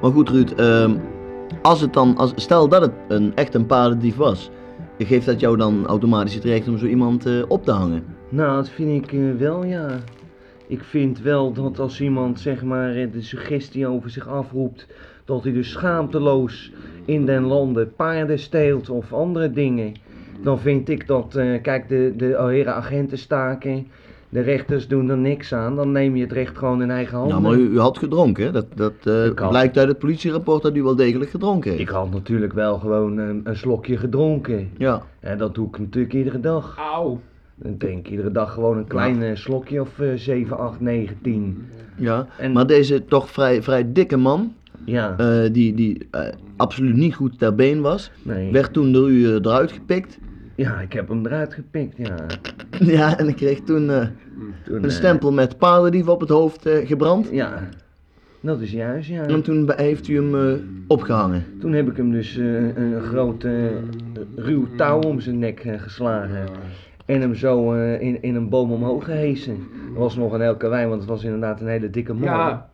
Maar goed, Ruud, ehm, als het dan, als, stel dat het een, echt een paardendief was, geeft dat jou dan automatisch het recht om zo iemand eh, op te hangen? Nou, dat vind ik eh, wel, ja. Ik vind wel dat als iemand, zeg maar, eh, de suggestie over zich afroept, dat hij dus schaamteloos in den landen paarden steelt of andere dingen, dan vind ik dat, eh, kijk, de, de heren agenten staken, de rechters doen er niks aan, dan neem je het recht gewoon in eigen handen. Ja, Nou, maar u, u had gedronken, hè? Dat, dat eh, Oh, Ik had- blijkt uit het politierapport dat u wel degelijk gedronken heeft. Ik had natuurlijk wel gewoon eh, een, een slokje gedronken. Ja, En dat doe ik natuurlijk iedere dag. Auw. Dan drink ik iedere dag gewoon een klein Nou. eh, slokje of eh 7, 8, 9, 10. ja. En- Maar deze toch vrij, vrij dikke man, Ja, eh, die, die eh, absoluut niet goed ter been was, nee. werd toen door u eh, eruit gepikt. Ja, ik heb hem eruit gepikt, ja. Ja, en ik kreeg toen eh, Toen, een eh, stempel met paardendief op het hoofd eh, gebrand. ja, dat is juist, ja. En toen be- heeft u hem eh, opgehangen. Toen heb ik hem dus eh, een groot eh, ruw touw om zijn nek eh, geslagen. En hem zo eh, in, in een boom omhoog gehesen. Er was nog een heel karwei, want het was inderdaad een hele dikke man. Ja.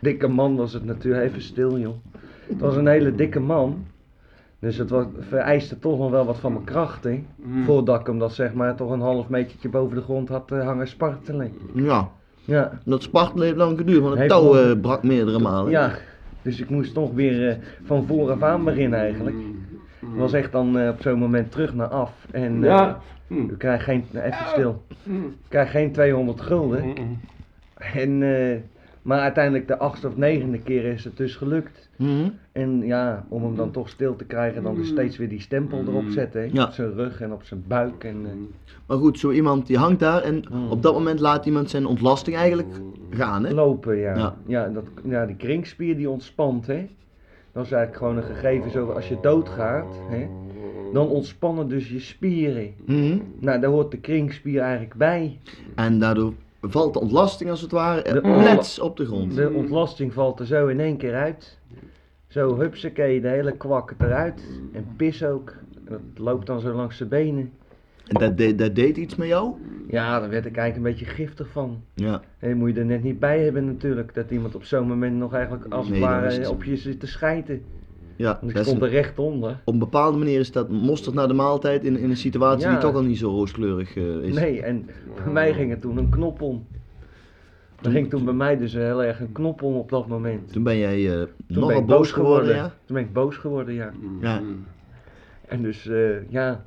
Dikke man was het natuurlijk. Even stil, joh. Het was een hele dikke man. Dus het was, vereiste toch nog wel wat van mijn krachten. Mm. Voordat ik hem dat zeg maar toch een half metertje boven de grond had eh, hangen spartelen. Ja, Ja. dat spartelen heeft lang geduurd, want het Heeft touw wel- eh, brak meerdere malen. Ja, dus ik moest toch weer eh, van vooraf aan beginnen eigenlijk. Ik was echt dan eh, op zo'n moment terug naar af. En eh, Ja. ik krijg geen, nou, even stil, ik krijg geen 200 gulden. En, eh, maar uiteindelijk de achtste of negende keer is het dus gelukt. Mhm. En ja, om hem dan toch stil te krijgen, dan dus steeds weer die stempel erop zetten. hè. Ja. Op zijn rug en op zijn buik. En, eh, Maar goed, zo iemand die hangt daar en Mhm. op dat moment laat iemand zijn ontlasting eigenlijk gaan, hè? Lopen, ja. Ja. Ja. dat, ja, die kringspier die ontspant, hè. Dat is eigenlijk gewoon een gegeven, zo als je doodgaat, hè. Dan ontspannen dus je spieren. Mhm. Nou, daar hoort de kringspier eigenlijk bij. En daardoor valt de ontlasting als het ware De- eh, plets op de grond. De ontlasting valt er zo in één keer uit. Zo, hupsakee, de hele kwak eruit. En pis ook. En dat loopt dan zo langs zijn benen. En dat, de- dat deed iets met jou? Ja, daar werd ik eigenlijk een beetje giftig van. Ja. Hé, moet je er net niet bij hebben natuurlijk, dat iemand op zo'n moment nog eigenlijk als het Nee, dat is ware het. op je zit te schijten. ja Want ik dat is stond er een- recht onder. op een bepaalde manier is dat mosterd naar de maaltijd in, in een situatie Ja. die toch al niet zo rooskleurig eh, is. Nee, en bij mij ging er toen een knop om. Er ging toen bij mij dus heel erg een knop om op dat moment. Toen ben jij eh Toen nogal boos geworden, ja? Toen ben ik boos geworden, ja. Ja. En dus, eh, ja,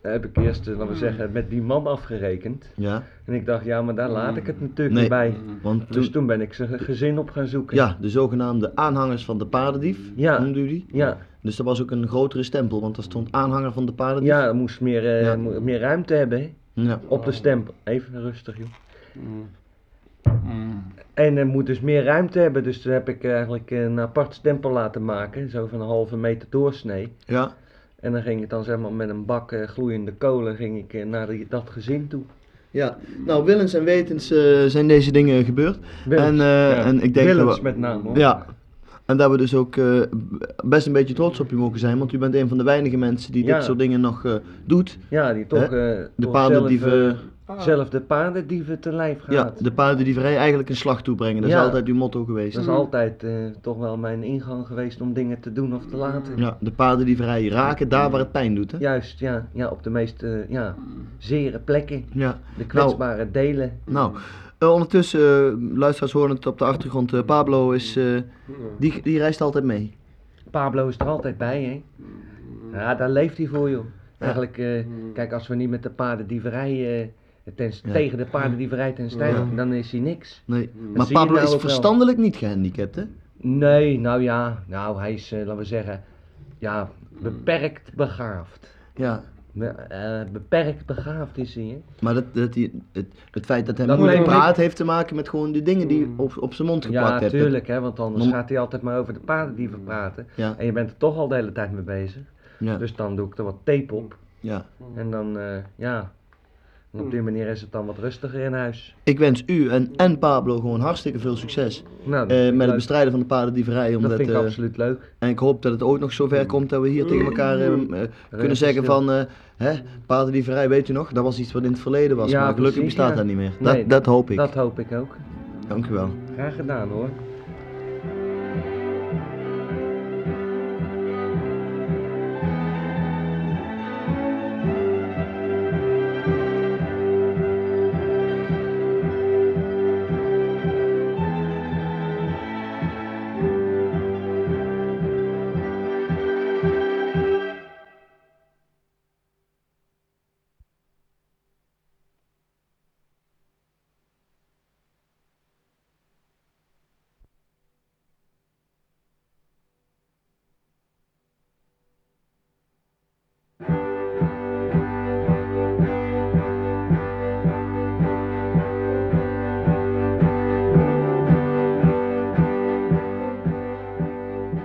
daar heb ik eerst, eh, laten Hmm. we zeggen, met die man afgerekend. ja. En ik dacht, ja, maar daar laat ik het natuurlijk Hmm. Nee, niet bij. Want Dus toen, toen ben ik zijn gezin op gaan zoeken. ja, de zogenaamde aanhangers van de paardendief, Ja. noemde u die. Ja, Dus dat was ook een grotere stempel, want daar stond aanhanger van de paardendief. ja, er moest meer, eh, Ja. mo- meer ruimte hebben hè, Ja. op de stempel. Even rustig, joh. En er moet dus meer ruimte hebben, dus toen heb ik eigenlijk eh, een apart stempel laten maken, zo van een halve meter doorsnee. ja. En dan ging ik dan zeg maar met een bak eh, gloeiende kolen ging ik, eh, naar die- dat gezin toe. Ja, nou willens en wetens eh, zijn deze dingen gebeurd. Willens, en, eh, ja. en ik denk Willens dat we, met name hoor. ja, en dat we dus ook eh, b- best een beetje trots op je mogen zijn, want u bent een van de weinige mensen die Ja. dit soort dingen nog eh, doet. Ja, die toch, eh De toch paardendieven, zelf, eh, zelf de paardendieven te lijf ja, gaat. de paardendieverij eigenlijk een slag toebrengen. Dat is Ja. altijd uw motto geweest. Dat is altijd eh, toch wel mijn ingang geweest om dingen te doen of te laten. Ja, de paardendieverij raken daar waar het pijn doet, hè? Juist, ja, ja, op de meest eh, ja, zere plekken, Ja. de kwetsbare delen. Nou, eh, ondertussen, eh, luisteraars horen het op de achtergrond, eh, Pablo is, eh, die, die reist altijd mee. Pablo is er altijd bij, hè? Ja, daar leeft hij voor, joh. Eigenlijk, eh, kijk, als we niet met de paardendieverij, eh ten, Ja. tegen de paardendieverij ten strijde, Ja. dan is hij niks. Nee. Maar zie je Pablo nou is ook wel. verstandelijk niet gehandicapt, hè? Nee, nou ja, nou, hij is, eh, laten we zeggen, ja, beperkt begaafd. Ja, Be- eh, beperkt begaafd is hij, hè? Maar dat, dat die, het, het feit dat hij Dat moeilijk neem ik- praat heeft te maken met gewoon de dingen die op, op zijn mond geplakt Mm. Ja, hebt. tuurlijk, hè, want anders Nom- gaat hij altijd maar over de paardendieven praten. Ja, En je bent er toch al de hele tijd mee bezig. ja, Dus dan doe ik er wat tape op. ja. En dan, eh, ja, en op die manier is het dan wat rustiger in huis. Ik wens u en, en Pablo gewoon hartstikke veel succes eh, Nou, dat- met het leuk. bestrijden van de paardendieverij. Dat Omdat, vind ik Mm. eh, absoluut leuk. en ik hoop dat het ooit nog zover komt dat we hier tegen elkaar Mm. eh, eh, kunnen zeggen van... eh hè, paardendieverij, weet u nog? Dat was iets wat in het verleden was, Ja, maar gelukkig precies, bestaat ja. dat niet meer. Nee, dat, dat hoop ik. Dat hoop ik ook. Dank u wel. Graag gedaan hoor.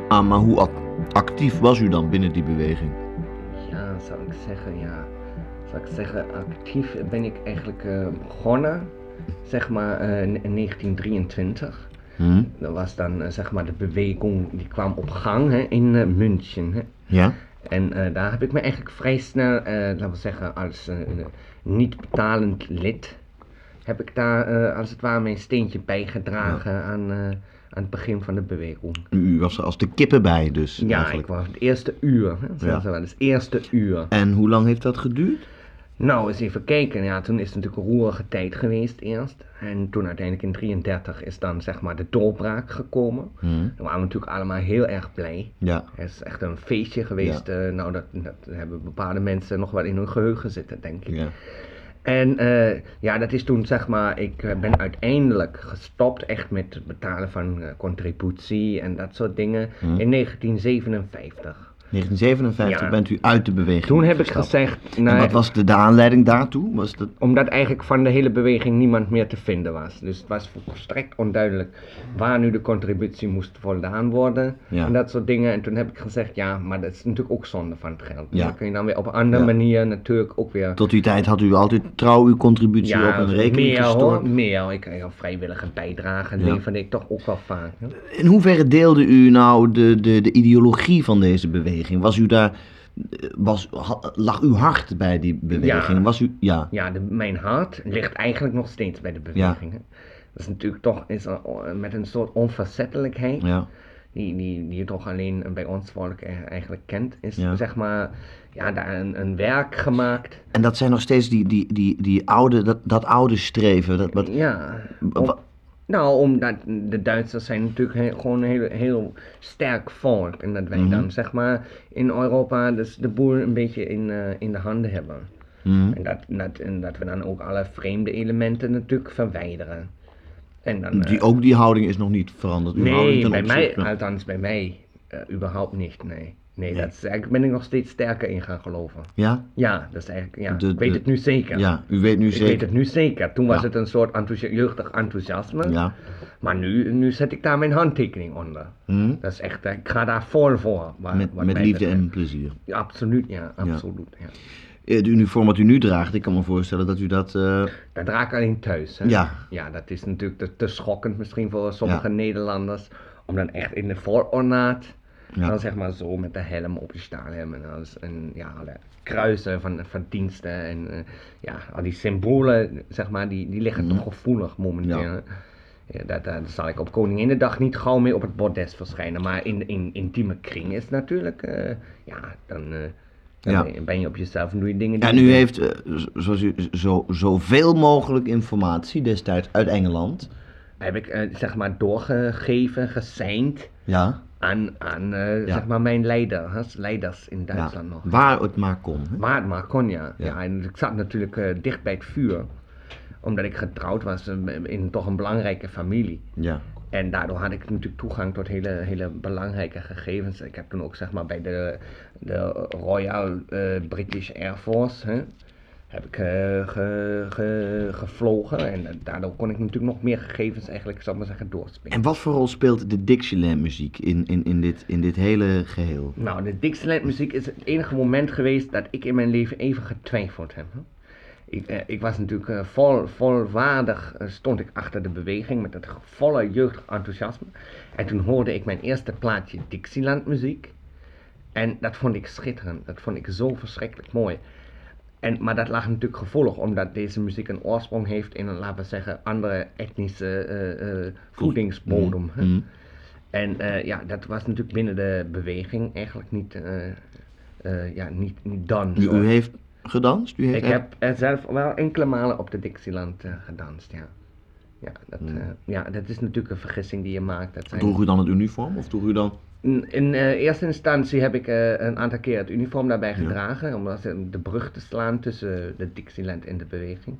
Ja, maar hoe ac- actief was u dan binnen die beweging? Ja, zou ik zeggen, ja. Zou ik zeggen, actief ben ik eigenlijk eh, begonnen, zeg maar, eh, in 1923. Hm? Dat was dan, eh, zeg maar, de beweging die kwam op gang hè, in eh, München. Hè. Ja? En eh, daar heb ik me eigenlijk vrij snel, eh, laten we zeggen, als eh, niet betalend lid, heb ik daar eh, als het ware mijn steentje bijgedragen aan, eh, aan het begin van de beweging. U was er als de kippen bij dus Ja, eigenlijk. ik was het eerste uur, hè, zeggen Ja. ze wel eens, eerste uur. En hoe lang heeft dat geduurd? Nou, eens even kijken. Ja, toen is het natuurlijk een roerige tijd geweest eerst. En toen uiteindelijk in 33 is dan zeg maar de doorbraak gekomen. Hm? Dan waren we natuurlijk allemaal heel erg blij. Ja. Het is echt een feestje geweest. eh, nou, dat, dat hebben bepaalde mensen nog wel in hun geheugen zitten, denk ik. ja. En eh, ja, dat is toen zeg maar, ik eh, ben uiteindelijk gestopt echt met het betalen van eh, contributie en dat soort dingen Hm. in 1957. 1957 Ja. bent u uit de beweging Toen heb ik gestapt. gezegd, En nou, wat was de, de aanleiding daartoe? Was dat... omdat eigenlijk van de hele beweging niemand meer te vinden was. Dus het was volstrekt onduidelijk waar nu de contributie moest voldaan worden. Ja. En dat soort dingen. En toen heb ik gezegd, ja, maar dat is natuurlijk ook zonde van het geld. Ja. Dan kun je dan weer op een andere Ja. manier natuurlijk ook weer... Tot die tijd had u altijd trouw uw contributie op een rekening meer gestort. hoor, meer. Ik kreeg al vrijwillige bijdragen, Ja. leverde ik toch ook wel vaak. hè. In hoeverre deelde u nou de, de, de ideologie van deze beweging? Was u daar, was, ha- lag uw hart bij die beweging? Ja. Was u, ja. Ja, de, mijn hart ligt eigenlijk nog steeds bij de beweging. hè. Dat is natuurlijk toch is al- eh, met een soort onverzettelijkheid. ja. die, die, die je toch alleen bij ons volk e- eigenlijk kent, is Ja. zeg maar ja, daar een, een werk gemaakt. En dat zijn nog steeds die, die, die, die oude, dat, dat oude streven. Dat, wat, ja. wa- om- wa- nou, omdat de Duitsers zijn natuurlijk he- gewoon een heel, heel sterk volk. En dat wij Mhm. dan zeg maar in Europa dus de boel een beetje in, eh, in de handen hebben. Mhm. En, dat, dat, en dat we dan ook alle vreemde elementen natuurlijk verwijderen. En dan, eh, die, ook die houding is nog niet veranderd. Uw houding Nee, ten bij mij, opzichte- althans bij mij, eh, überhaupt niet, nee. Nee, Nee. dat is, eigenlijk ben ik nog steeds sterker in gaan geloven. Ja? Ja, dat is eigenlijk, ja, De- ik weet de- het nu zeker. ja, u weet nu Ik weet zeker. het nu zeker. Toen was Ja. het een soort enthousi- jeugdig enthousiasme. Ja. Maar nu, nu zet ik daar mijn handtekening onder. Hm? Dat is echt, eh, ik ga daar vol voor. wa- Met, Ah, wat met mij liefde betreft. en plezier. Ja, absoluut, ja, absoluut. Ja. Eh, Het uniform wat u nu draagt, ik kan me voorstellen dat u dat... eh, Dat raak ik alleen thuis. Hè? Ja. ja, dat is natuurlijk te, te schokkend misschien voor sommige Nederlanders. Om dan echt in de voorornaat. Ja. En dan zeg maar zo met de helm op je staalhelm en alles. En ja, alle kruisen van, van diensten. En eh, ja, al die symbolen, zeg maar, die, die liggen toch gevoelig momenteel. Mhm. Ja. hè. Ja, dat, daar zal ik op Koninginnedag niet gauw mee op het bordes verschijnen. Maar in, in intieme kring is natuurlijk, eh, ja, dan, eh, dan Ja. ben je- ben je op jezelf en doe je dingen Ja, die je nu heeft, eh, z- zoals u, zo, zoveel mogelijk informatie destijds uit Engeland. heb ik eh, zeg maar doorgegeven, geseind Ja. aan, aan eh, Ja. zeg maar mijn leider, hè, leiders in Duitsland nog. Waar het maar kon. hè? Maar het maar kon, ja. Ja. ja. en ik zat natuurlijk eh, dicht bij het vuur, omdat ik getrouwd was eh, in toch een belangrijke familie. Ja. En daardoor had ik natuurlijk toegang tot hele, hele belangrijke gegevens. Ik heb toen ook zeg maar bij de, de Royal eh, British Air Force hè, heb ik, eh, ge- ge- gevlogen. En eh, daardoor kon ik natuurlijk nog meer gegevens eigenlijk, zal ik maar zeggen, doorspelen. En wat voor rol speelt de Dixieland muziek in, in, in, dit, in dit hele geheel? Nou, de Dixieland muziek is het enige moment geweest dat ik in mijn leven even getwijfeld heb. hè. Ik, eh, ik was natuurlijk eh, vol, volwaardig, eh, stond ik achter de beweging met het volle jeugdig enthousiasme. En toen hoorde ik mijn eerste plaatje Dixieland muziek. En dat vond ik schitterend, dat vond ik zo verschrikkelijk mooi. En, maar dat lag natuurlijk gevoelig, omdat deze muziek een oorsprong heeft in een, laten we zeggen, andere etnische eh, eh, voedingsbodem. hè. Mhm. En eh, ja, dat was natuurlijk binnen de beweging eigenlijk niet, eh, eh, ja, niet, niet dan. U, zo. u heeft gedanst? U heeft Ik echt- heb er zelf wel enkele malen op de Dixieland eh, gedanst, ja. Ja dat, eh, ja, dat is natuurlijk een vergissing die je maakt. Dat zijn... Droeg u dan het uniform? Of droeg u dan... In, in, eh, eerste instantie heb ik eh, een aantal keer het uniform daarbij gedragen, om dat, eh, de brug te slaan tussen de Dixieland en de beweging.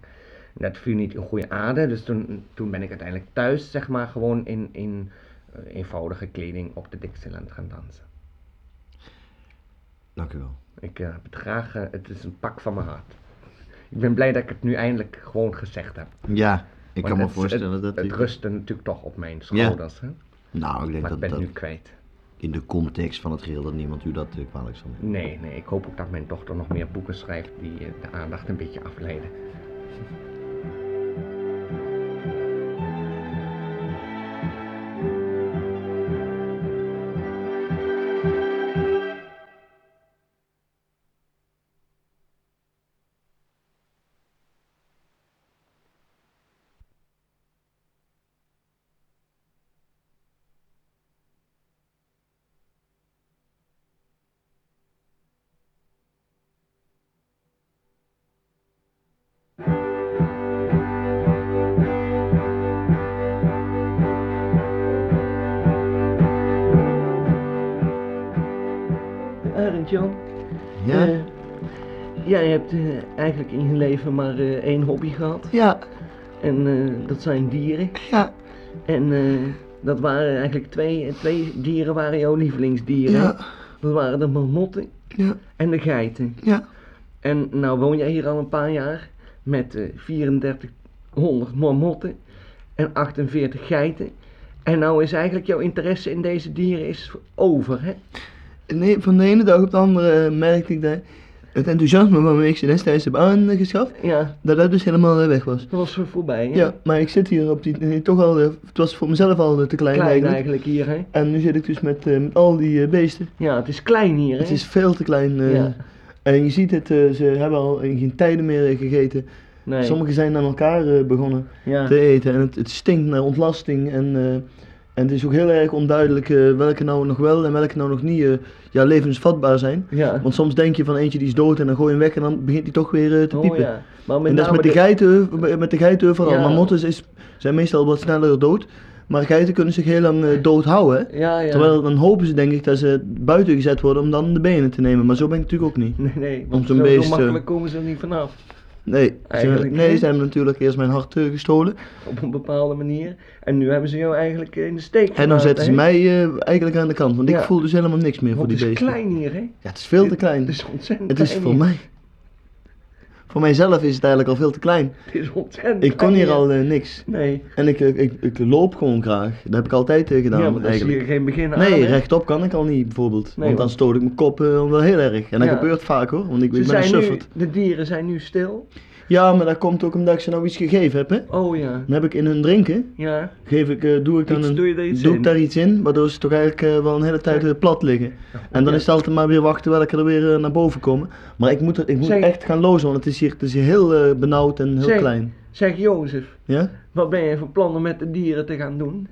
En dat viel niet in goede aarde, dus toen, toen ben ik uiteindelijk thuis, zeg maar, gewoon in, in eh, eenvoudige kleding op de Dixieland gaan dansen. Dank u wel. Ik eh, heb het graag, eh, het is een pak van mijn hart. Ik ben blij dat ik het nu eindelijk gewoon gezegd heb. Ja, ik Want kan me het- voorstellen het, dat... Het u- rustte natuurlijk toch op mijn schouders, hè? Nou, ik denk maar dat... ik ben het dat... nu kwijt. in de context van het geheel dat niemand u dat eh, kwalijk zal nemen. Nee, nee, ik hoop ook dat mijn dochter nog meer boeken schrijft die eh, de aandacht een beetje afleiden. Arend Jan, Ja? eh, jij hebt eh, eigenlijk in je leven maar eh, één hobby gehad. ja, En eh, dat zijn dieren. ja, En eh, dat waren eigenlijk twee, twee dieren waren jouw lievelingsdieren. ja, Dat waren de marmotten ja, en de geiten. ja. En nou woon jij hier al een paar jaar met eh, 3400 marmotten en 48 geiten. En nou is eigenlijk jouw interesse in deze dieren is over, hè? Nee, van de ene dag op de andere eh, merkte ik dat het enthousiasme waarmee ik ze destijds heb aangeschaft, Ja, dat dat dus helemaal eh, weg was. dat was voor- voorbij, hè? Ja, maar ik zit hier op die, eh, toch al, eh, het was voor mezelf al eh, te klein, Klein eigenlijk. eigenlijk hier, hè? En nu zit ik dus met, eh, met al die eh, beesten. Ja, het is klein hier, hè? Het is veel te klein. eh, Ja. En je ziet het, eh, ze hebben al in geen tijden meer eh, gegeten. Nee, Sommigen zijn aan elkaar eh, begonnen ja. te eten. En het, het stinkt naar ontlasting. En, eh, en het is ook heel erg onduidelijk eh, welke nou nog wel en welke nou nog niet eh, ja, levensvatbaar zijn. ja. Want soms denk je van eentje die is dood en dan gooi je hem weg en dan begint hij toch weer eh, te piepen. Oh, ja. Maar met En dat is name met de geiten, eh, met de geiten vooral. Ja. Marmotten is, zijn meestal wat sneller dood. Maar geiten kunnen zich heel lang eh, dood houden. hè. Ja, ja. Terwijl dan hopen ze denk ik dat ze buiten gezet worden om dan de benen te nemen. Maar zo ben ik natuurlijk ook niet. Nee, nee, Om want zo'n zo, beest, zo eh, makkelijk komen ze er niet vanaf. Nee, ze, Eigenlijk nee, niet. ze hebben natuurlijk eerst mijn hart eh, gestolen. op een bepaalde manier. En nu hebben ze jou eigenlijk eh, in de steek En dan gelaten, zetten ze hè? mij eh, eigenlijk aan de kant. Want ik Ja. voel dus helemaal niks meer voor Want die het is beesten. klein hier, hè? Ja, het is veel te klein. Het is ontzettend het is klein voor hier. mij. Voor mijzelf is het eigenlijk al veel te klein. Het is ontzettend Ik kon klein hier al eh, niks. Nee, En ik, eh, ik, ik loop gewoon graag. Dat heb ik altijd eh, gedaan ja, maar dat is eigenlijk. hier geen begin aan, Nee, hè? rechtop kan ik al niet bijvoorbeeld. want dan want- stoot ik mijn kop eh, wel heel erg. En dat Ja. gebeurt vaak hoor, want ik, Ze ik ben een zijn nu, sufferd. de dieren zijn nu stil. Ja, maar dat komt ook omdat ik ze nou iets gegeven heb. Hè? Oh ja, Dan heb ik in hun drinken, ja. geef ik, eh, doe ik dan Iets- een, doe je daar iets doe in? ik daar iets in, waardoor ze toch eigenlijk eh, wel een hele tijd eh, plat liggen. En dan ja. is het altijd maar weer wachten welke er weer eh, naar boven komen. Maar ik moet, er- ik moet Zeg- echt gaan lozen, want het is hier, het is hier heel eh, benauwd en heel Zeg- klein. Zeg Jozef, Ja? wat ben je van plan om met de dieren te gaan doen?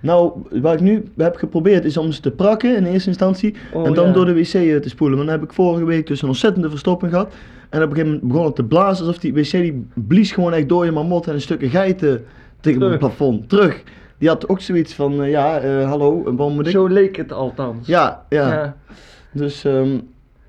Nou, wat ik nu heb geprobeerd is om ze te prakken in eerste instantie. Oh, en dan ja. door de wc eh, te spoelen. Maar dan heb ik vorige week dus een ontzettende verstopping gehad. En op een gegeven moment begon het te blazen alsof die wc die blies gewoon echt door je marmot en een stukken geiten tegen Terug. het plafond. Terug. Die had ook zoiets van, eh, ja, eh, hallo, een boom moet ik? Zo leek het althans. Ja, ja, Dus, ehm,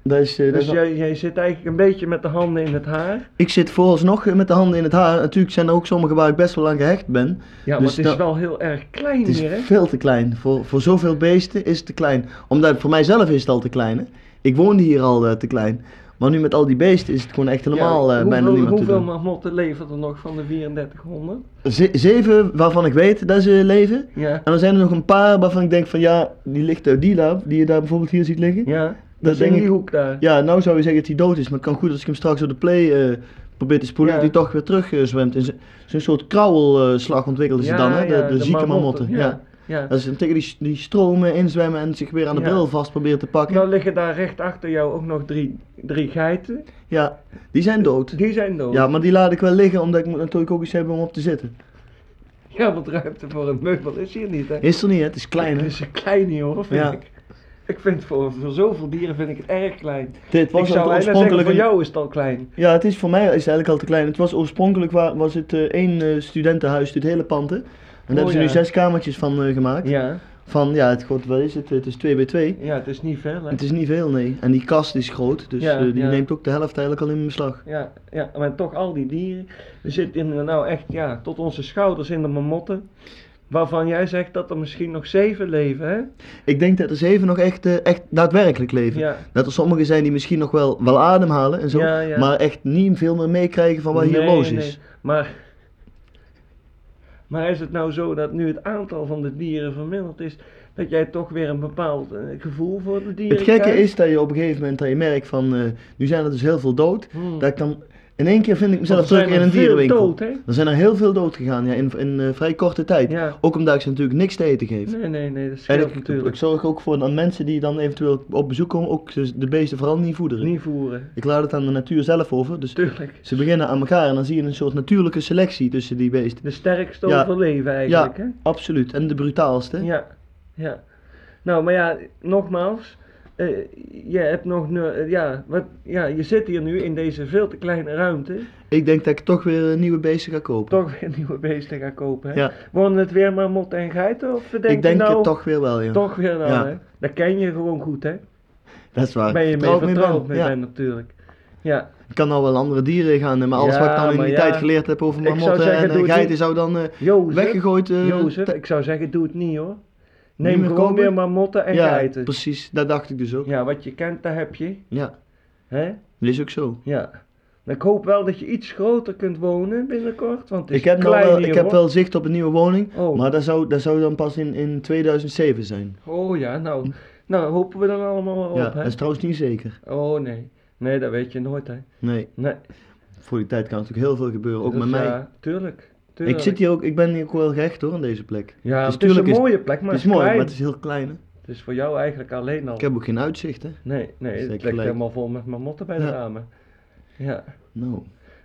dat is, eh, dat Dus is wel- jij, jij zit eigenlijk een beetje met de handen in het haar. Ik zit vooralsnog eh, met de handen in het haar. Natuurlijk zijn er ook sommige waar ik best wel aan gehecht ben. Ja, maar Dus het is dat- wel heel erg klein Het is hier, hè? veel te klein. Voor, voor zoveel beesten is het te klein. Omdat voor mijzelf is het al te klein. Hè? Ik woonde hier al eh, te klein. Maar nu met al die beesten is het gewoon echt helemaal eh, Ja, bijna hoeveel- niemand te Hoeveel doen. marmotten levert er nog van de 3400? Ze- zeven waarvan ik weet dat ze leven. Ja. En dan zijn er nog een paar waarvan ik denk van ja, die ligt uit die la, die je daar bijvoorbeeld hier ziet liggen. Ja, dat, Dat is denk in die ik- hoek daar. Ja, nou zou je zeggen dat hij dood is. Maar het kan goed als ik hem straks door de play eh, probeer te spoelen, Ja. dat hij toch weer terug eh, zwemt. En zo- Zo'n soort krauwelslag ontwikkelde ze Ja, dan, hè? de, ja, de zieke marmotten, marmotten. Ja. Ja. Dat ze tegen die, die stromen inzwemmen en zich weer aan de Ja. bril vast proberen te pakken. Nou liggen daar recht achter jou ook nog drie, drie geiten. Ja, die zijn dood. Die zijn dood. Ja, maar die laat ik wel liggen, omdat ik moet natuurlijk ook iets hebben om op te zitten. Ja, want ruimte voor een meubel is hier niet, hè? Is er niet, hè? Het is klein, Het hè? is een klein hier, hoor, vind Ja. ik. Ik vind voor, voor zoveel dieren vind ik het erg klein. Dit ik was zou het bijna zeggen, oorspronkelijk... voor jou is het al klein. Ja, het is voor mij is het eigenlijk al te klein. Het was oorspronkelijk wa- was het eh, één eh, studentenhuis, dit hele pand, hè? En daar Oh, hebben ze nu ja. zes kamertjes van eh, gemaakt. Ja, Van, ja, het, god, wat is het? Het is 2 bij 2. ja het is niet veel, hè? Het is niet veel, nee. En die kast is groot, dus Ja, eh, die ja. neemt ook de helft eigenlijk al in beslag. Ja, ja, maar toch al die dieren. We zitten in, eh, nou echt ja, tot onze schouders in de marmotten. Waarvan jij zegt dat er misschien nog zeven leven, hè? Ik denk dat er zeven nog echt, eh, echt daadwerkelijk leven. Ja, Dat er sommigen zijn die misschien nog wel, wel ademhalen en zo, Ja, ja. maar echt niet veel meer meekrijgen van wat hier Nee, los nee. is. Maar, maar is het nou zo dat nu het aantal van de dieren verminderd is, dat jij toch weer een bepaald eh, gevoel voor de dieren Het gekke krijgt. is dat je op een gegeven moment dat je merkt van, eh, nu zijn er dus heel veel dood. Hmm. Dat ik dan, in één keer vind ik Want mezelf Oh, er terug zijn in er een veel dierenwinkel. dood, hè? Er zijn er heel veel dood gegaan, ja, in, in eh, vrij korte tijd. Ja. Ook omdat ik ze natuurlijk niks te eten geef. Nee, nee, nee, dat En scheelt ik, ik natuurlijk. zorg ook voor dat mensen die dan eventueel op bezoek komen, ook dus de beesten vooral niet voederen. Niet voeren. Ik laat het aan de natuur zelf over. Dus Tuurlijk. ze beginnen aan elkaar en dan zie je een soort natuurlijke selectie tussen die beesten. De sterkste Ja. overleven eigenlijk, hè? Absoluut. En de brutaalste. Ja, ja. Nou, maar ja, nogmaals. eh, je hebt nog. ne- eh, ja, wat, ja, je zit hier nu in deze veel te kleine ruimte. Ik denk dat ik toch weer een nieuwe beesten ga kopen. Toch weer nieuwe beesten gaan kopen. Hè? Ja. Worden het weer maar motten en geiten? Of denk ik denk je nou, het toch weer wel, ja. toch weer dan, Ja. hè? Dat ken je gewoon goed, hè? Dat is waar. ben je mee Vertrouw ik me vertrouwd wel. mee ja. bent, natuurlijk. Ja, Ik kan nou wel andere dieren gaan, maar alles Ja, wat ik dan in maar die ja. tijd geleerd heb over Ik zou marmotten zeggen, en doe eh, het geiten niet. zou dan eh, Jozef, weggegooid... eh, Jozef, te- ik zou zeggen, doe het niet hoor. Niet Neem meer gewoon kopen? weer maar motten en ja, geiten. precies. Dat dacht ik dus ook. Ja. Ja, wat je kent, daar heb je. Hè? dat is ook zo. Ja. Maar Ik hoop wel dat je iets groter kunt wonen binnenkort, want het is Ik heb, nou klein wel, hier, ik heb hoor. wel zicht op een nieuwe woning, Oh. maar dat zou, dat zou dan pas in, in 2007 zijn. Oh ja, nou, nou hopen we dan allemaal maar op, ja, hè? dat is trouwens niet zeker. Oh nee, nee, dat weet je nooit, hè? Nee, Nee. voor die tijd kan natuurlijk heel veel gebeuren, ook Dus met mij. Ja, tuurlijk, tuurlijk. ik, zit hier ook, ik ben hier ook wel gehecht hoor, aan deze plek. Ja, dus het is een tuurlijk is- mooie plek, maar het is het is mooi, klein. maar het is heel klein. Hè? Het is voor jou eigenlijk alleen al. Ik heb ook geen uitzicht, hè. Nee, nee, Zeker het ligt gelijk. helemaal vol met marmotten bij de Ja. ramen. Ja. Nou,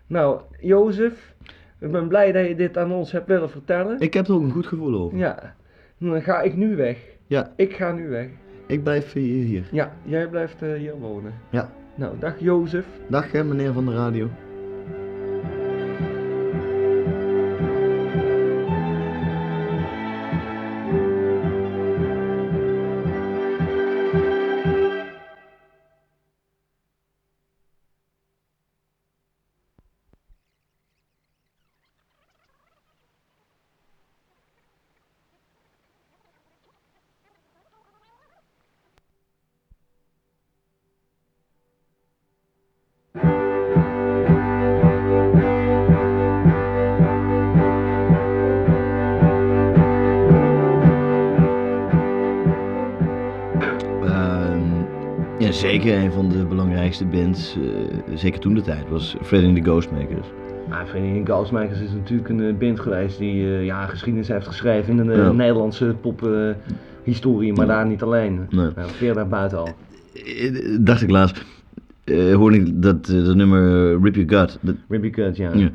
Nou, Jozef, ik ben blij dat je dit aan ons hebt willen vertellen. ik heb er ook een goed gevoel over. Ja, dan ga ik nu weg. Ja. Ik ga nu weg. Ik blijf hier. hier. Ja, jij blijft eh, hier wonen. Ja. Nou, dag Jozef. Dag hè, meneer van de radio. Ehm, ja, zeker een van de belangrijkste bands, eh, zeker toen de tijd, was Fred and the Ghostmakers. Nou, Vereniging Galsmakers is natuurlijk een eh, band geweest die eh, ja, geschiedenis heeft geschreven in de eh, Ja. Nederlandse pophistorie, maar Ja. daar niet alleen. Nee. Nou, ver daarbuiten al. Eh, Dacht ik laatst, eh, hoorde ik dat, eh, dat nummer eh, Rip Your Gut, dat, Ribby Cut, ja. ja.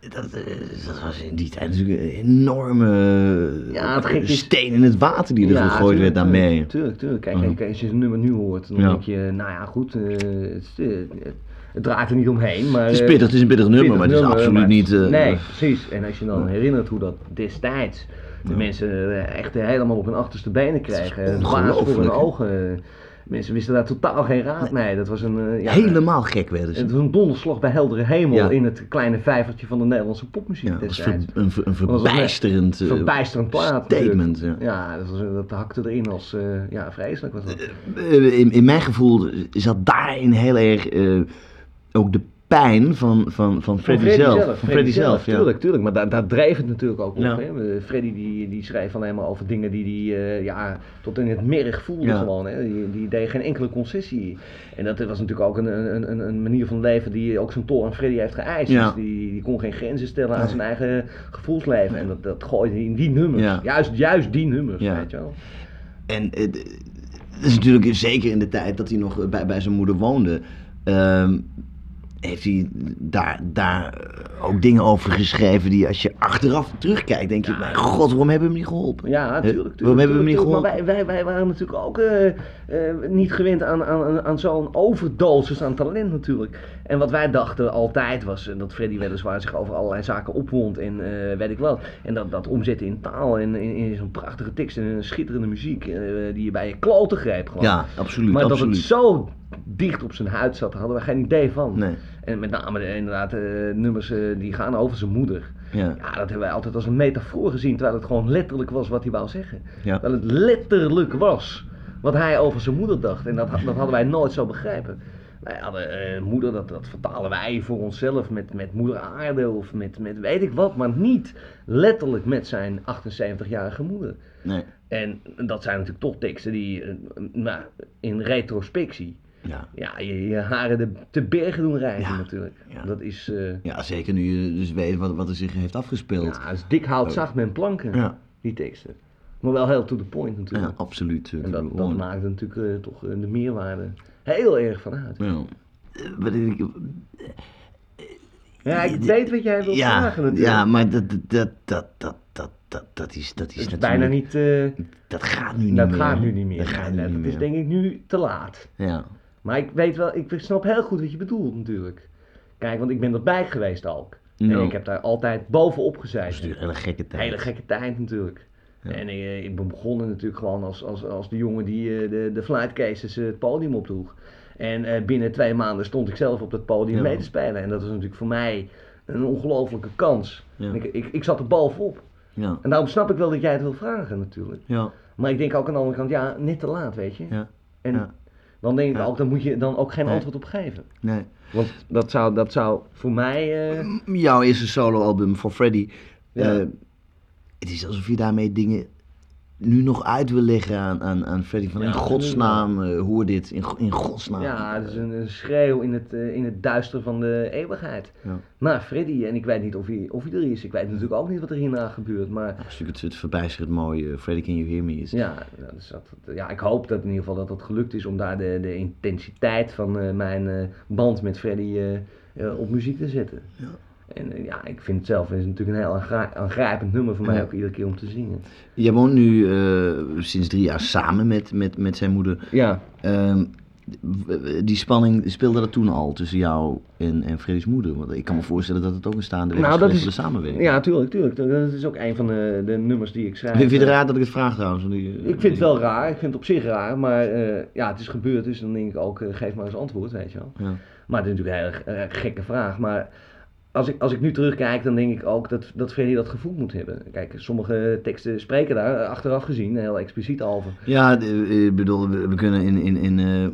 dat, eh, dat was in die tijd natuurlijk een enorme eh, Ja, het gekke is- steen in het water die er Ja, gegooid werd tuurlijk, daarmee. tuurlijk, Tuurlijk, tuurlijk. Kijk, Mhm. kijk, als je het nummer nu hoort, dan Ja. denk je, nou ja, goed, eh, het, eh, het- het draait er niet omheen. Maar, Het is eh, pittig, het is een pittig nummer, maar het is nummer, absoluut maar- niet... eh, nee, precies. En als je dan herinnert hoe dat destijds de mensen eh, echt helemaal op hun achterste benen kregen. eh, Baas voor hun ongelooflijk, hè? ogen. Mensen wisten daar totaal geen raad mee. Dat was een, eh, ja, Helemaal gek werden ze. het was een donderslag bij heldere hemel Ja. in het kleine vijvertje van de Nederlandse popmuziek Ja, het was ver- destijds. een, ver- een was een- verbijsterend, eh, Verbijsterend plaat. statement. natuurlijk. Ja. Ja, dat, was, dat hakte erin als, eh, ja, vreselijk was dat. Eh, In, in mijn gevoel zat daarin heel erg eh, ook de pijn van, van, van Freddy, zelf. Van Freddy zelf, ja. Tuurlijk, tuurlijk. Maar daar, daar dreef het natuurlijk ook op. Ja. Hè? Eh, Freddy die, die schreef alleen maar over dingen die, die hij ja, tot in het merg voelde Ja. gewoon. Hè? Die, die deed geen enkele concessie. En dat was natuurlijk ook een, een, een, een manier van leven die ook zijn tol aan Freddy heeft geëist. Ja. Dus die, die kon geen grenzen stellen aan zijn eigen gevoelsleven. En dat, dat gooide hij in die nummers. Ja. Juist, juist die nummers, Ja. weet je wel. En eh, d- het is natuurlijk zeker in de tijd dat hij nog eh, bij, bij zijn moeder woonde. ehm, heeft hij daar, daar eh, ook dingen over geschreven die als je achteraf terugkijkt, denk je, mijn god, waarom hebben we hem niet geholpen? Ja, Hè? natuurlijk. tuurlijk, Waarom tuurlijk, hebben we hem niet tuurlijk. geholpen? Maar wij, wij, wij waren natuurlijk ook eh, eh, niet gewend aan, aan, aan zo'n overdosis aan talent natuurlijk. En wat wij dachten altijd was eh, dat Freddy weliswaar zich over allerlei zaken opwond en eh, weet ik wat. En dat, dat omzetten in taal en in, in zo'n prachtige tekst en een schitterende muziek eh, die je bij je kloten greep gewoon. Ja, absoluut, maar dat het absoluut. zo dicht op zijn huid zat, daar hadden we geen idee van. Nee. En met name de, inderdaad eh, nummers eh, die gaan over zijn moeder. Ja. Ja, Ah, dat hebben wij altijd als een metafoor gezien, terwijl het gewoon letterlijk was wat hij wou zeggen. Ja. Dat het letterlijk was wat hij over zijn moeder dacht. En dat, dat hadden wij nooit zo begrepen. Wij hadden eh, moeder, dat, dat vertalen wij voor onszelf met, met moeder aarde of met, met weet ik wat, maar niet letterlijk met zijn 78-jarige moeder. Nee. En dat zijn natuurlijk toch teksten die, eh, nou, in retrospectie, Ja. ja, je, je haren de, te bergen doen rijzen Ja, natuurlijk. ja. Dat is, eh ja, zeker nu je dus weet wat, wat er zich heeft afgespeeld. ja, als dik hout zacht men planken, Ja. die teksten. Maar wel heel to the point Ja, natuurlijk. absoluut. En dat, dat Gewoon- maakt er natuurlijk eh, toch eh, de meerwaarde heel erg van uit. Ja. Eh, wat ik- Ja, ik weet wat jij wilt Ja, vragen natuurlijk. ja, maar dat, dat, dat, dat, dat, dat, dat, dat is, dat is dat is natuurlijk... bijna niet, eh, Dat gaat nu niet dat meer. gaat nu niet meer. Dat gaat Nee, nu dat niet is meer. denk ik nu te laat. Ja. Maar ik weet wel, ik snap heel goed wat je bedoelt natuurlijk. Kijk, want ik ben erbij geweest al. En Ja. ik heb daar altijd bovenop Dat is gezeten. natuurlijk een hele gekke tijd. Hele gekke tijd natuurlijk. Ja. En eh, ik ben begonnen natuurlijk gewoon als, als, als de jongen die eh, de, de flight cases eh, het podium opdroeg. En eh, binnen twee maanden stond ik zelf op dat podium Ja. mee te spelen. En dat was natuurlijk voor mij een ongelofelijke kans. Ja. Ik, ik, ik zat er bovenop. Ja. En daarom snap ik wel dat jij het wil vragen natuurlijk. Ja. Maar ik denk ook aan de andere kant, ja, net te laat, weet je. Ja. En Ja. dan denk ik Ja. ook, dan moet je dan ook geen Nee. antwoord op geven. Nee. Want dat zou, dat zou voor mij... eh, Jouw eerste soloalbum voor Freddy. Ja. eh, het is alsof je daarmee dingen nu nog uit wil leggen aan, aan, aan Freddy. Van Ja, in absoluut. godsnaam, eh, hoor dit. In, go- in godsnaam. Ja, het is een, een schreeuw in het, eh, in het duister van de eeuwigheid. Ja. Maar Nou, Freddy, en ik weet niet of hij, of hij er is. Ik weet natuurlijk ook niet wat er hierna gebeurt. Maar Dat is natuurlijk het, het verbijsterend mooie. eh, Freddy, can you hear me? Is. ja, dat is dat, ja, ik hoop dat in ieder geval dat dat gelukt is om daar de, de intensiteit van eh, mijn eh, band met Freddy eh, eh, op muziek te zetten. Ja. En eh, ja, ik vind het zelf het is natuurlijk een heel aangri- aangrijpend nummer voor mij Ja. ook iedere keer om te zingen. Jij woont nu eh, sinds drie jaar samen met, met, met zijn moeder. Ja, Ehm, w- die spanning speelde dat toen al tussen jou en, en Freddy's moeder? Want ik kan me voorstellen dat het ook een staande weg Nou, is dat geweest is- voor de samenwerking. ja tuurlijk, tuurlijk. Dat is ook een van de, de nummers die ik schrijf. Vind je het raar dat ik het vraag trouwens? Want die- Eh, Ik vind het wel raar, ik vind het op zich raar, maar eh, ja, het is gebeurd, dus dan denk ik ook, eh, geef maar eens antwoord, weet je wel. Ja. Maar het is natuurlijk een hele eh, gekke vraag, maar als ik, als ik nu terugkijk, dan denk ik ook dat, dat Freddy dat gevoel moet hebben. Kijk, sommige teksten spreken daar eh, achteraf gezien heel expliciet over. Ja, eh, ik bedoel, we, we kunnen in... in, in eh,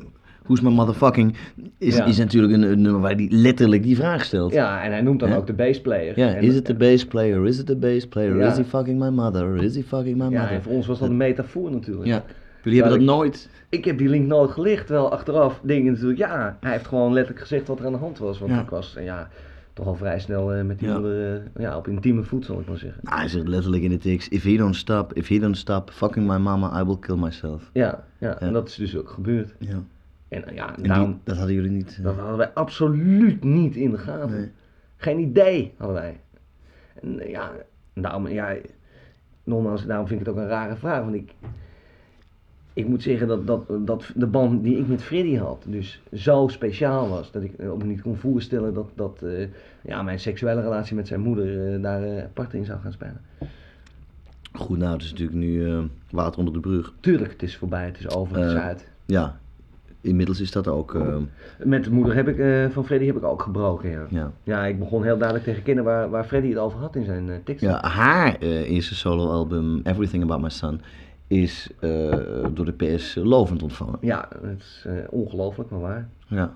Who's my motherfucking is, Ja. is natuurlijk een, een nummer waar hij letterlijk die vraag stelt. Ja, en hij noemt dan Ja. ook de bassplayer. Ja, En- is it the bass player? Is it the bass player? Ja. Is he fucking my mother? Is he fucking my Ja, mother? en voor ons was dat een metafoor natuurlijk. Ja. Jullie hebben dat nooit. Ik heb die link nooit gelicht, terwijl achteraf denk ik natuurlijk, ja, hij heeft gewoon letterlijk gezegd wat er aan de hand was. Want Ja. ik was, eh, ja, toch al vrij snel eh, met die Ja. moeder eh, ja, op intieme voet, zal ik maar zeggen. Nou, hij zegt letterlijk in de tekst: If he don't stop, if he don't stop, fucking my mama, I will kill myself. Ja, ja, en Ja. dat is dus ook gebeurd. Ja. En eh, ja, En die- daarom, dat hadden jullie niet. eh, dat hadden wij absoluut niet in de gaten. nee. Geen idee hadden wij. En eh, ja, daarom, ja, nogmaals, daarom vind ik het ook een rare vraag. Want ik, ik moet zeggen dat, dat, dat de band die ik met Freddy had, dus zo speciaal was. Dat ik eh, ook niet kon voorstellen dat, dat eh, ja, mijn seksuele relatie met zijn moeder eh, daar eh, apart in zou gaan spelen. Goed, nou, het is natuurlijk nu eh, water onder de brug. Tuurlijk, het is voorbij, het is over, het is Eh. uit. Ja, inmiddels is dat ook. eh, Met de moeder heb ik, eh, van Freddy heb ik ook gebroken, ja. ja. Ja, ik begon heel duidelijk te herkennen waar, waar Freddy het over had in zijn eh, teksten. ja, haar eh, eerste soloalbum, Everything About My Son, is eh, door de PS lovend ontvangen. Ja, het is eh, ongelooflijk, maar waar. Ja.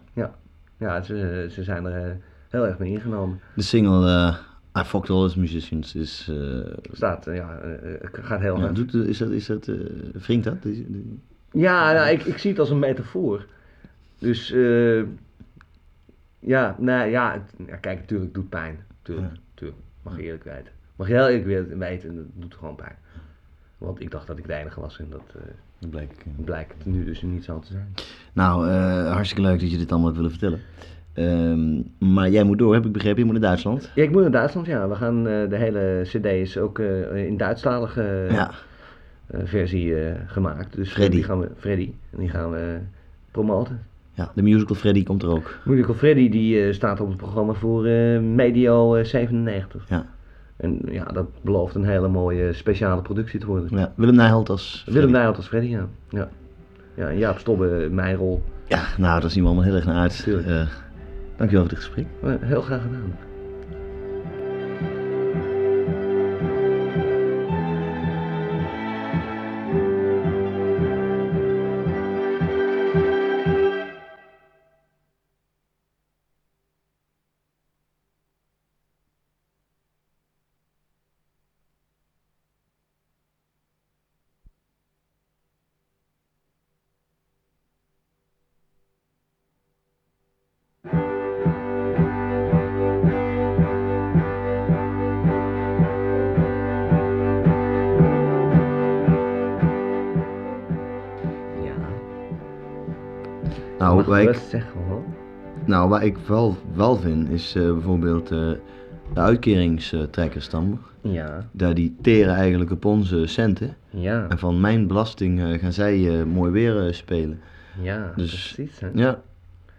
Ja, ze, ze zijn er eh, heel erg mee ingenomen. De single eh, I Fucked All His Musicians is. eh, Staat, eh, ja, eh, eh, gaat heel ja, hard. doet, is dat. Is dat eh, wringt dat? Is- die- Ja, nou, ik, ik zie het als een metafoor. Dus, eh, ja, nou ja, het- ja, kijk, natuurlijk doet pijn. Tuurlijk, Ja. tuurlijk. Mag je eerlijk weten. Mag je heel eerlijk weten- weten, het doet gewoon pijn. Want ik dacht dat ik de enige was en dat eh, dat blijkt. eh. blijkt nu dus niet zo te zijn. Nou, eh, hartstikke leuk dat je dit allemaal hebt willen vertellen. Ehm, maar jij moet door, heb ik begrepen. Je moet naar Duitsland. Ja, ik moet naar Duitsland, ja. We gaan, eh, de hele cd is ook eh, in Duitsstalige eh, ja. eh, versie eh, gemaakt. Dus Freddy. Die gaan we, Freddy. En die gaan we promoten. ja, de musical Freddy komt er ook. Musical Freddy die eh, staat op het programma voor eh Medio eh, 97. Ja. En ja, dat belooft een hele mooie eh, speciale productie te worden. Ja, Willem Nijholt als Willem Freddy. Nijholt als Freddy, ja. Ja, ja en Jaap Stobbe, mijn rol. Ja, nou, daar zien we allemaal heel erg naar uit. Tuurlijk. Eh, dankjewel voor dit gesprek. Eh, Heel graag gedaan. Nou, Mag waar ik, ik zeggen hoor. nou, waar ik wel, wel vind is eh, bijvoorbeeld eh, de uitkeringstrekkers dan. Ja, Daar die teren eigenlijk op onze centen. ja, En van mijn belasting eh, gaan zij eh, mooi weer eh, spelen. ja, Dus- precies hè. Ja.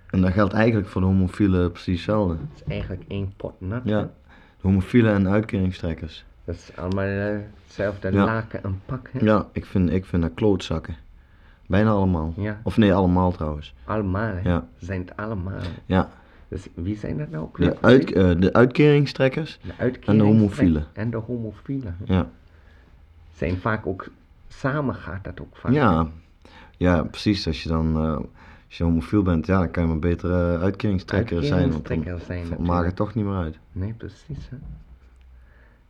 En dat geldt eigenlijk voor de homofielen precies hetzelfde. Het is eigenlijk één pot nat. hè. Ja. De homofielen en uitkeringstrekkers. Dat is allemaal eh, hetzelfde Ja. laken en pak hè. Ja, ik vind, ik vind dat klootzakken. Bijna allemaal. Ja. Of nee, allemaal trouwens. Allemaal hè. Ja. Zijn het allemaal. Ja. Dus wie zijn dat nou? De, Club? uit, eh, de uitkeringstrekkers. de en de homofielen. En de homofielen. hè. Ja. Zijn vaak ook, samen gaat dat ook vaak. hè. Ja. ja, precies. Als je dan eh, als je homofiel bent, ja, dan kan je maar beter eh, uitkeringstrekker zijn. Want dan Uitkeringstrekker zijn v- maakt natuurlijk. het toch niet meer uit. Nee, precies. Hè?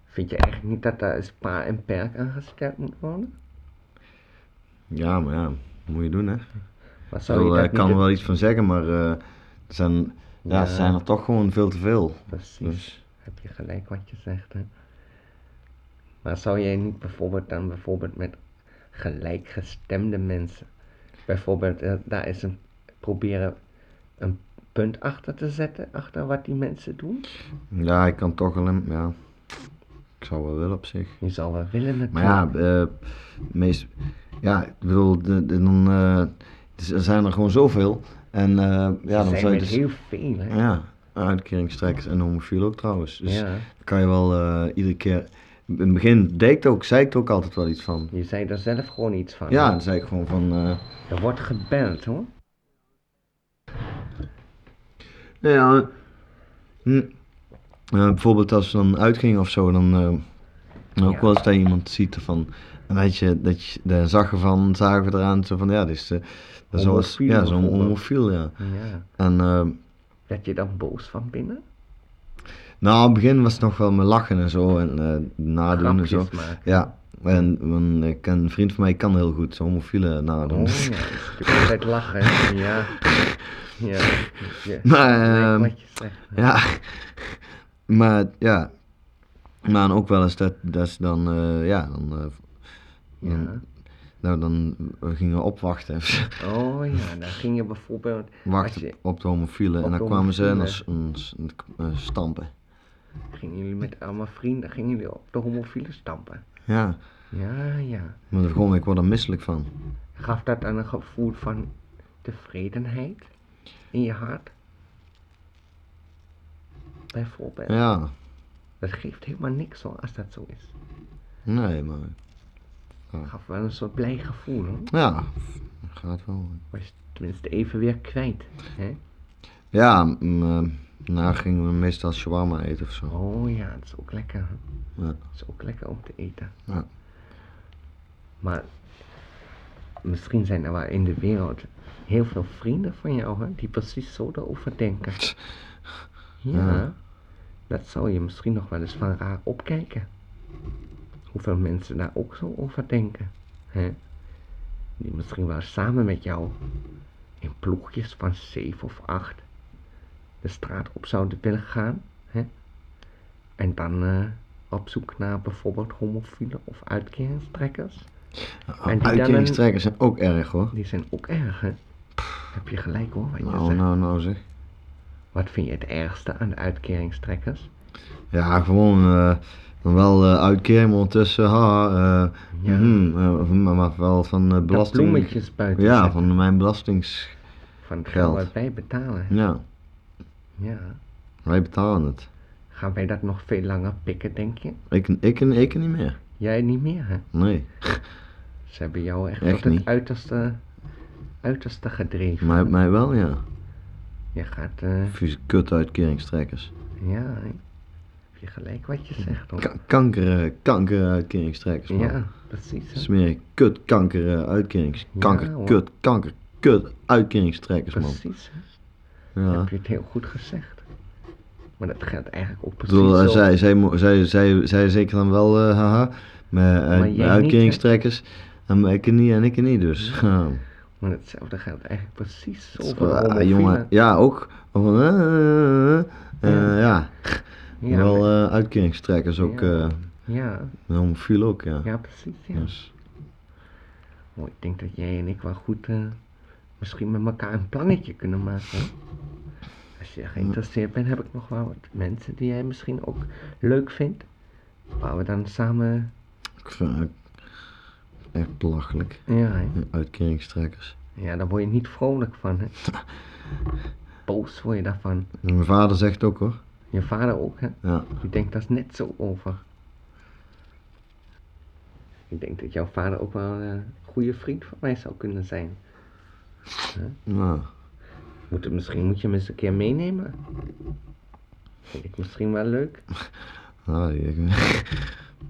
Vind je eigenlijk niet dat daar eens pa en perk aangesteld moet worden? Ja, maar ja, moet je doen hè. Wat Ik zou je dat ik eh, kan niet er wel iets van zeggen, maar eh, er zijn, ja. Ja. er zijn er toch gewoon veel te veel. Precies. Dus Heb je gelijk wat je zegt, hè? Maar zou jij niet bijvoorbeeld dan bijvoorbeeld met gelijkgestemde mensen, bijvoorbeeld eh, daar eens een, proberen een punt achter te zetten, achter wat die mensen doen? ja, ik kan toch alleen, ja, ik zou wel willen op zich. Je zou wel willen natuurlijk. Maar ja, eh, meest, ja, ik bedoel, de- de- dan eh, dus er zijn er gewoon zoveel. En eh, ja, Ze dan zijn zou je met dus, heel veel, hè? ja, uitkeringstrekkers en homofiel ook trouwens. Dus Ja. kan je wel eh, iedere keer, in het begin deed ik ook, zei ik er ook altijd wel iets van. Je zei er zelf gewoon iets van. Ja, dan zei ik gewoon van, eh, Er wordt gebeld, hoor. Nou ja. hm, eh, bijvoorbeeld als we dan uitgingen of zo, dan eh, ook Ja. wel eens dat je iemand ziet van, en dat je, dat je daar zag je van, zagen we eraan, zo van, ja, dit is, eh, dat is zoals, Homofiel ja, zo'n bijvoorbeeld. homofiel, ja. Ja. En eh, Werd je dan boos van binnen? nou, aan het begin was het nog wel met lachen en zo, en eh, nadoen en Grapjes zo. maken. Ja, en want ik ken- een vriend van mij kan heel goed zo'n homofiele nadoen. Oh ja, je kunt altijd lachen. hè. Ja. Ja. ja. Maar, Lijkt ehm, wat je zegt. Ja, maar ja. Maar dan ook wel eens dat, dat ze dan, eh, ja, dan, eh, dan, Ja. nou, dan we gingen opwachten. Oh ja, dan ging je bijvoorbeeld... Wachten je- op de homofielen. op En de dan kwamen ze en dan s- homofielen. s- eh, stampen. Gingen jullie met allemaal vrienden, gingen jullie op de homofielen stampen. Ja, Ja, ja. maar dan gewoon, ik word er misselijk van. Gaf dat dan een gevoel van tevredenheid in je hart? Bijvoorbeeld. Ja, Dat geeft helemaal niks hoor, als dat zo is. nee, maar Gaf wel een soort blij gevoel hoor. ja, gaat wel. Was je tenminste even weer kwijt. Hè? Ja, mm, eh, daarna gingen we meestal shawarma eten of zo. Oh ja, het is ook lekker. hè. Ja. Het is ook lekker om te eten. Ja. Maar misschien zijn er wel in de wereld heel veel vrienden van jou hè, die precies zo erover denken. Ja, Ja. dat zou je misschien nog wel eens van raar opkijken. Hoeveel mensen daar ook zo over denken. Hè? Die misschien wel samen met jou in ploegjes van zeven of acht de straat op zouden willen gaan. Hè? En dan eh, op zoek naar bijvoorbeeld homofielen of uitkeringstrekkers. En die Uitkeringstrekkers zijn ook erg hoor. Die zijn ook erg, hè? Heb je gelijk hoor, wat je Nou, zegt. nou, nou zeg. Wat vind je het ergste aan de uitkeringstrekkers? Ja, gewoon eh, dan wel eh uitkering, maar ondertussen, haha, eh, Ja. mhm, eh, of- maar, maar wel van eh, Dat belasting. bloemetjes buiten ja, zetten. van mijn belastings. Van het Geld. geld wat wij betalen. Ja, Ja. wij betalen het. Gaan wij dat nog veel langer pikken, denk je? Ik, ik, ik niet meer. Jij niet meer, hè? Nee. Ze hebben jou echt, Echt tot het niet. uiterste, uiterste gedreven. Mij, mij wel, ja. Je gaat, eh, Vieze kut uitkeringstrekkers. ja, hè. heb je gelijk wat je zegt, hoor. Ka- kanker, eh, kanker uitkeringstrekkers, man. Oh. Ja, precies. hè. Smerig kut kanker eh, uitkerings. Kanker, Ja, hoor. kut, kanker, kut uitkeringstrekkers, man. Precies. hè. Ja. Heb je het heel goed gezegd. Maar dat geldt eigenlijk ook Ik precies bedoel, eh, zo. zij, zij, mo- zij, zij, zij zeker dan wel, eh, haha, met, eh, Maar jij met niet, hè? uitkeringstrekkers. En maar ik niet en ik niet, dus. Ja. Maar hetzelfde geldt eigenlijk precies zo Zo, voor de ah, homofielen. jongen, ja, ook. Of van, eh, eh, eh, eh, eh, ja, Ja, wel maar- eh uitkeringstrekkers ook, Ja. eh ja, homofiel ook, ja. ja, precies. Ja. Dus, Oh, ik denk dat jij en ik wel goed eh, misschien met elkaar een plannetje kunnen maken. Als je geïnteresseerd bent, heb ik nog wel wat mensen die jij misschien ook leuk vindt. Waar we dan samen. Ik vind het echt belachelijk. Ja, hè. Uitkeringstrekkers. ja daar word je niet vrolijk van. Hè? Boos word je daarvan. En Mijn vader zegt ook hoor. Je vader ook, hè? Ja. Ik denk dat is net zo over. Ik denk dat jouw vader ook wel eh, een goede vriend van mij zou kunnen zijn. Nou, Moet het, misschien moet je hem eens een keer meenemen. Vind ik misschien wel leuk. nou, die-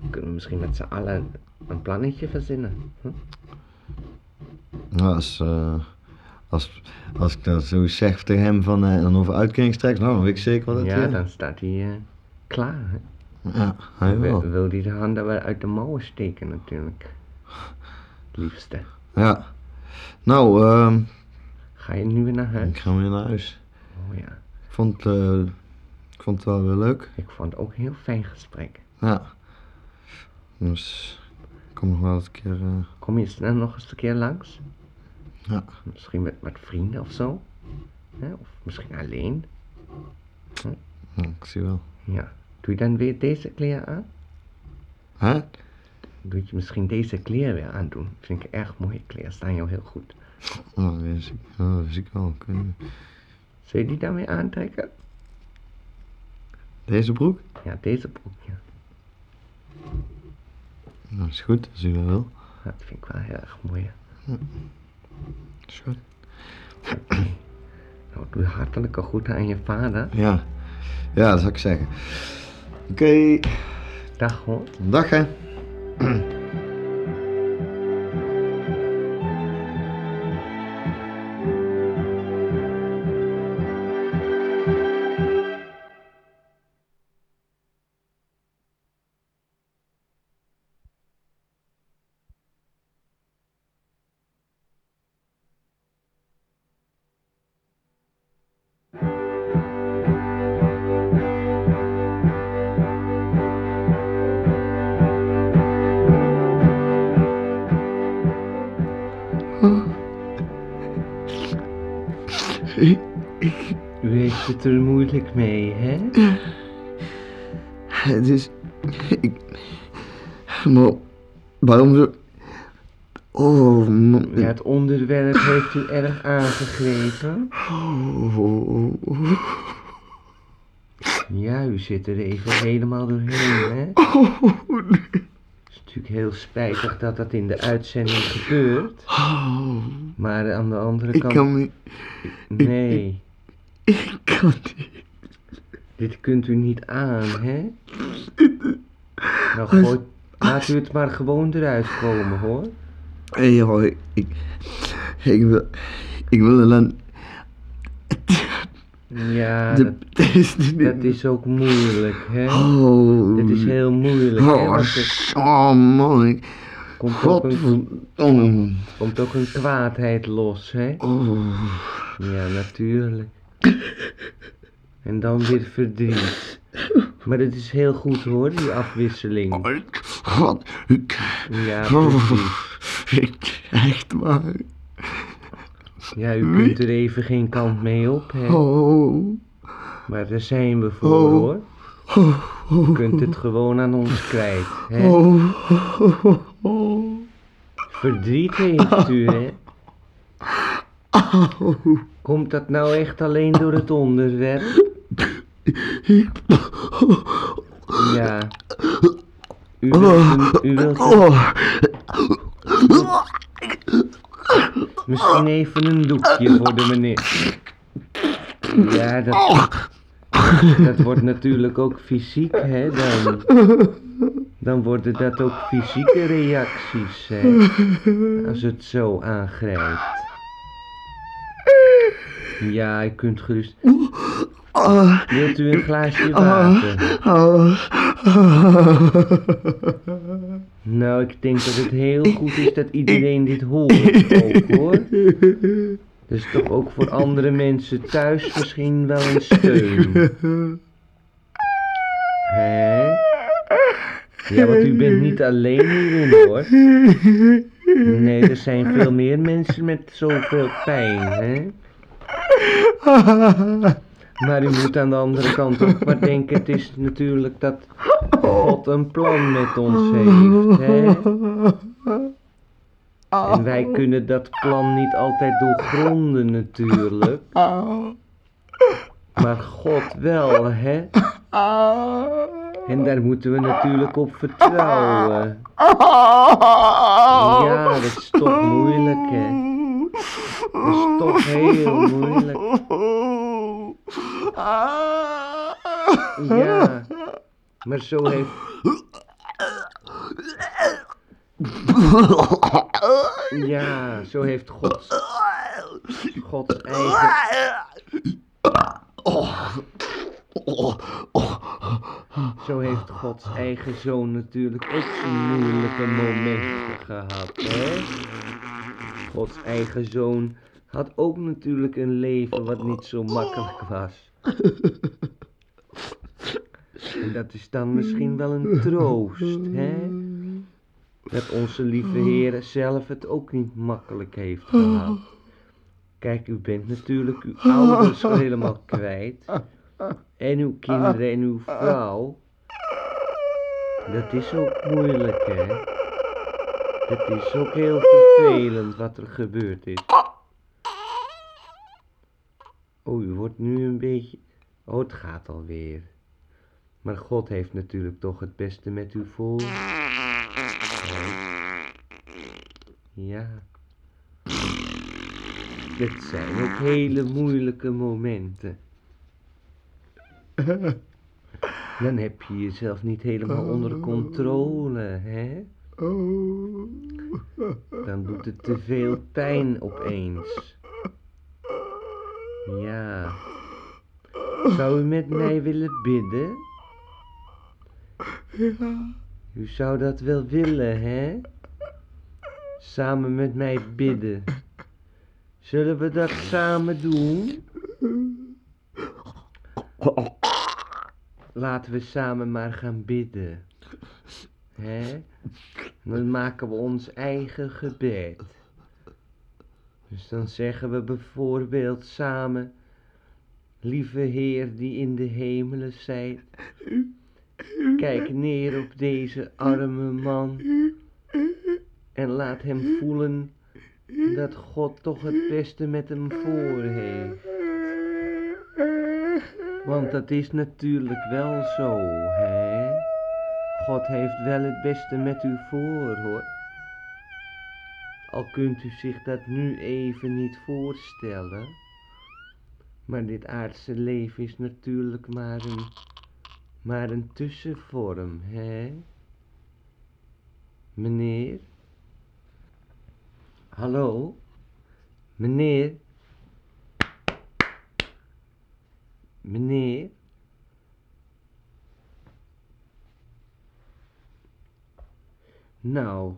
Kunnen we misschien met z'n allen een plannetje verzinnen. Hm? nou, als, eh, als, als ik dat zo zeg tegen hem van, eh, dan over uitkeringstrekkers, nou, dan weet ik zeker wat het ja, is. dan staat hij eh, klaar. hè. Ja, hij Wil, wel. wil hij de handen wel uit de mouwen steken natuurlijk. Het liefste. Ja. Nou, ehm, Ga je nu weer naar ik huis? ga weer naar huis. Oh ja. Ik vond, eh, ik vond het wel weer leuk. Ik vond het ook een heel fijn gesprek. Ja. Dus ik kom nog wel eens een keer. eh, Kom je snel nog eens een keer langs? ja. Misschien met wat vrienden of zo? Hè? Of misschien alleen? Ja, Nou, ik zie wel. Ja. Doe je dan weer deze kleren aan? Hè? Doet je misschien deze kleren weer aandoen? Vind ik erg mooie kleren, staan jou heel goed. Nou, dat wist ik, ja, dat wist ik wel. Ik weet niet. Zul je die dan weer aantrekken? Deze broek? Ja, deze broek, ja. Nou, is goed, als u wel wil. Dat vind ik wel heel erg mooi. Is goed. Nou, doe hartelijke groeten aan je vader. Ja. Ja, dat zou ik zeggen. Oké, Dag hoor. dag hè. U heeft het er moeilijk mee, hè? Het is. Dus, Ik. Maar. Waarom zo. Oh, man. Ja, het onderwerp heeft u erg aangegrepen. Oh, Ja, u zit er even helemaal doorheen, hè? Het is natuurlijk heel spijtig dat dat in de uitzending gebeurt. Maar aan de andere Ik kant... kan niet. Nee, Ik kan niet. dit kunt u niet aan, hè? Nou, gooi, laat u het maar gewoon eruit komen, hoor. Hé, hoi. Ik. Ik wil. Ik wil alleen. Ja, dat, De, het is niet. dat is ook moeilijk, hè? Oh. Dit is heel moeilijk, hè? Oh, Want er s- oh man. Ik, komt ook, een, godverdomme. komt ook een kwaadheid los, hè? Oh. Ja, natuurlijk. En dan weer verdriet. Maar het is heel goed hoor, die afwisseling. Ik, God, ik, Ja, oh, precies. ik, echt waar. Ja, u kunt er even geen kant mee op, hè. Oh, Maar daar zijn we voor, Oh. hoor. U kunt het gewoon aan ons kwijt, hè. oh, oh, oh, oh. Verdriet heeft u, hè. Komt dat nou echt alleen door het onderwerp? Ja. U wilt, u wilt Oh, Misschien even een doekje voor de meneer. Ja, dat, dat wordt natuurlijk ook fysiek, hè, dan. Dan worden dat ook fysieke reacties, hè. Als het zo aangrijpt. Ja, je kunt gerust... oh, Wilt u een glaasje water? oh. Nou, ik denk dat het heel goed is dat iedereen dit hoort ook, hoor. Dus toch ook voor andere mensen thuis misschien wel een steun. Hè? Ja, want u bent niet alleen hierin hoor. Nee, er zijn veel meer mensen met zoveel pijn, hè? Maar u moet aan de andere kant ook maar denken, het is natuurlijk dat God een plan met ons heeft, hè? En wij kunnen dat plan niet altijd doorgronden natuurlijk, maar God wel, hè? En daar moeten we natuurlijk op vertrouwen. Ja, dat is toch moeilijk, hè? Dat is toch heel moeilijk. Ah. Ja, maar zo heeft... Ja, zo heeft God... Gods eigen... Ah. Zo heeft Gods eigen zoon natuurlijk ook zijn moeilijke momenten gehad, hè? Gods eigen zoon had ook natuurlijk een leven wat niet zo makkelijk was. En dat is dan misschien wel een troost, hè? Dat onze lieve Heer zelf het ook niet makkelijk heeft gehad. Kijk, u bent natuurlijk uw ouders helemaal kwijt. En uw kinderen en uw vrouw. Dat is ook moeilijk, hè? Dat is ook heel vervelend wat er gebeurd is. Oh, u wordt nu een beetje. Oh, het gaat alweer. Maar God heeft natuurlijk toch het beste met u voor. Ja. Dit zijn ook hele moeilijke momenten. Dan heb je jezelf niet helemaal onder controle, hè? Dan doet het te veel pijn opeens. Ja. Zou u met mij willen bidden? U zou dat wel willen, hè? Samen met mij bidden. Zullen we dat samen doen? Laten we samen maar gaan bidden. Hè? Dan maken we ons eigen gebed. Dus dan zeggen we bijvoorbeeld samen: Lieve Heer die in de hemelen zijt, kijk neer op deze arme man en laat hem voelen dat God toch het beste met hem voor heeft. Want dat is natuurlijk wel zo, hè? God heeft wel het beste met u voor, hoor. Al kunt u zich dat nu even niet voorstellen. Maar dit aardse leven is natuurlijk maar een, maar een tussenvorm, hè? Meneer? Hallo? Meneer? Meneer? Nou,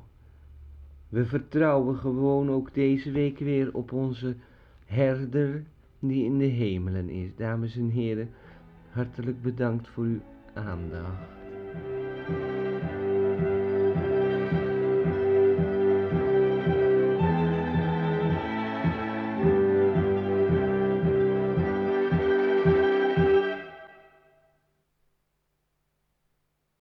we vertrouwen gewoon ook deze week weer op onze herder die in de hemelen is. Dames en heren, hartelijk bedankt voor uw aandacht.